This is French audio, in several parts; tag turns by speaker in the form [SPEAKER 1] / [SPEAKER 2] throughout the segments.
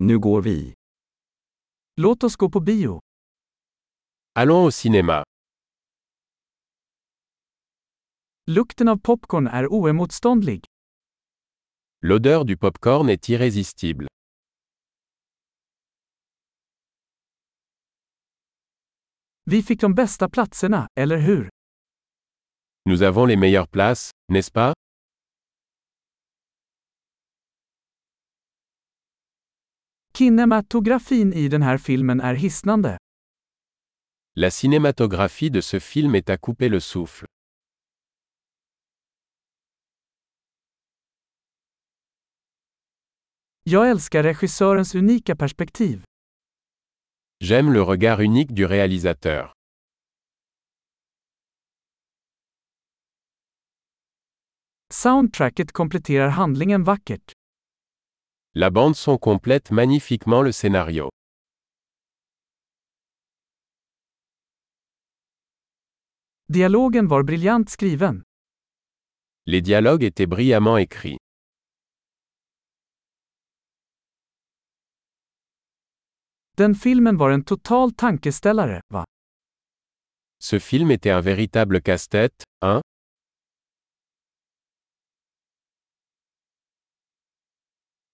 [SPEAKER 1] Nu går vi.
[SPEAKER 2] Låt oss gå på bio.
[SPEAKER 3] Allons au cinéma.
[SPEAKER 2] Lukten av popcorn är oemotståndlig.
[SPEAKER 3] L'odeur du popcorn est irrésistible.
[SPEAKER 2] Vi fick de bästa platserna, eller hur?
[SPEAKER 3] Nous avons les meilleures places, n'est-ce pas
[SPEAKER 2] Kinematografin i den här filmen är hisnande.
[SPEAKER 3] La cinématographie de ce film est à couper le souffle.
[SPEAKER 2] Jag älskar regissörens unika perspektiv.
[SPEAKER 3] J'aime le regard unique du réalisateur.
[SPEAKER 2] Soundtracket kompletterar handlingen vackert.
[SPEAKER 3] La bande son complète magnifiquement le scénario.
[SPEAKER 2] Dialogen var briljant skriven.
[SPEAKER 3] Les dialogues étaient brillamment écrits.
[SPEAKER 2] Den filmen var en total tankeställare, va?
[SPEAKER 3] Ce film était un véritable casse-tête, hein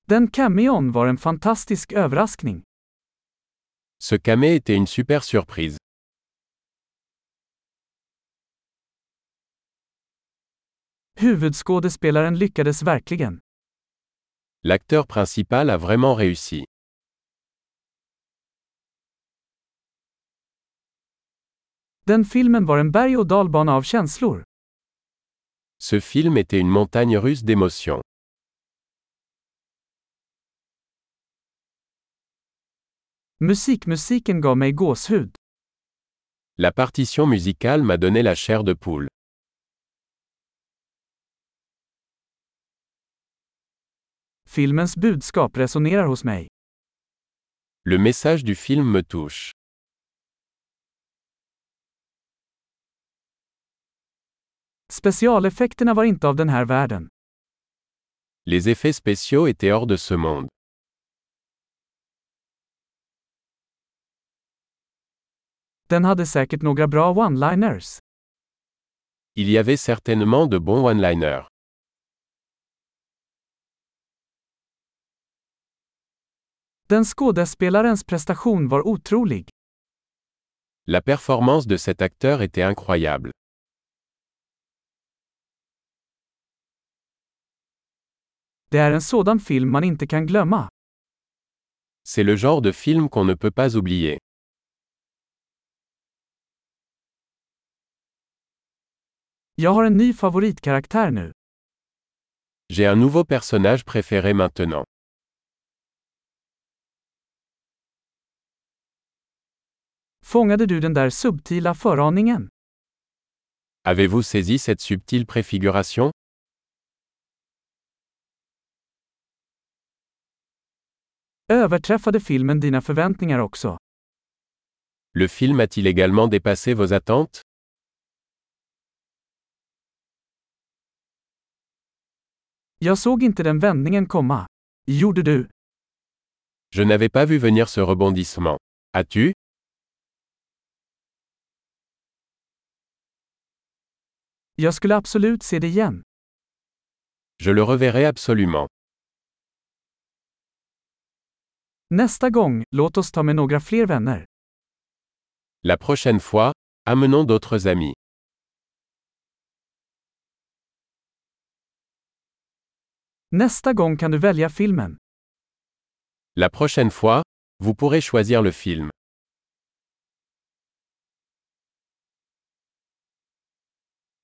[SPEAKER 2] Den cameon var en fantastisk överraskning.
[SPEAKER 3] Ce camé était une super surprise.
[SPEAKER 2] Huvudskådespelaren lyckades verkligen.
[SPEAKER 3] L'acteur principal a vraiment réussi.
[SPEAKER 2] Den filmen var en berg och dalbana av känslor.
[SPEAKER 3] Ce film était une montagne russe d'émotions.
[SPEAKER 2] Musikmusiken gav mig gåshud.
[SPEAKER 3] La partition musicale m'a donné la chair de poule.
[SPEAKER 2] Filmens budskap resonerar hos mig.
[SPEAKER 3] Le message du film me touche.
[SPEAKER 2] Specialeffekterna var inte av den här världen.
[SPEAKER 3] Les effets spéciaux étaient hors de ce monde.
[SPEAKER 2] Den hade säkert några bra one-liners.
[SPEAKER 3] Il y avait certainement de bons one-liners.
[SPEAKER 2] Den skådespelarens prestation var otrolig.
[SPEAKER 3] La performance de cet acteur était incroyable.
[SPEAKER 2] Det är en sådan film man inte kan glömma.
[SPEAKER 3] C'est le genre de film qu'on ne peut pas oublier.
[SPEAKER 2] Jag har en ny favoritkaraktär nu.
[SPEAKER 3] J'ai un nouveau personnage préféré maintenant.
[SPEAKER 2] Fångade du den där subtila föraningen?
[SPEAKER 3] Avez-vous saisi cette subtile préfiguration
[SPEAKER 2] Överträffade filmen dina förväntningar också?
[SPEAKER 3] Le film a-t-il également dépassé vos attentes
[SPEAKER 2] Jag såg inte den vändningen komma. Gjorde du?
[SPEAKER 3] Je n'avais pas vu venir ce rebondissement. As-tu
[SPEAKER 2] Jag skulle absolut se det igen.
[SPEAKER 3] Je le reverrai absolument.
[SPEAKER 2] Nästa gång, låt oss ta med några fler vänner.
[SPEAKER 3] La prochaine fois, amenons d'autres amis.
[SPEAKER 2] Nästa gång kan du välja filmen.
[SPEAKER 3] La prochaine fois, vous pourrez choisir le film.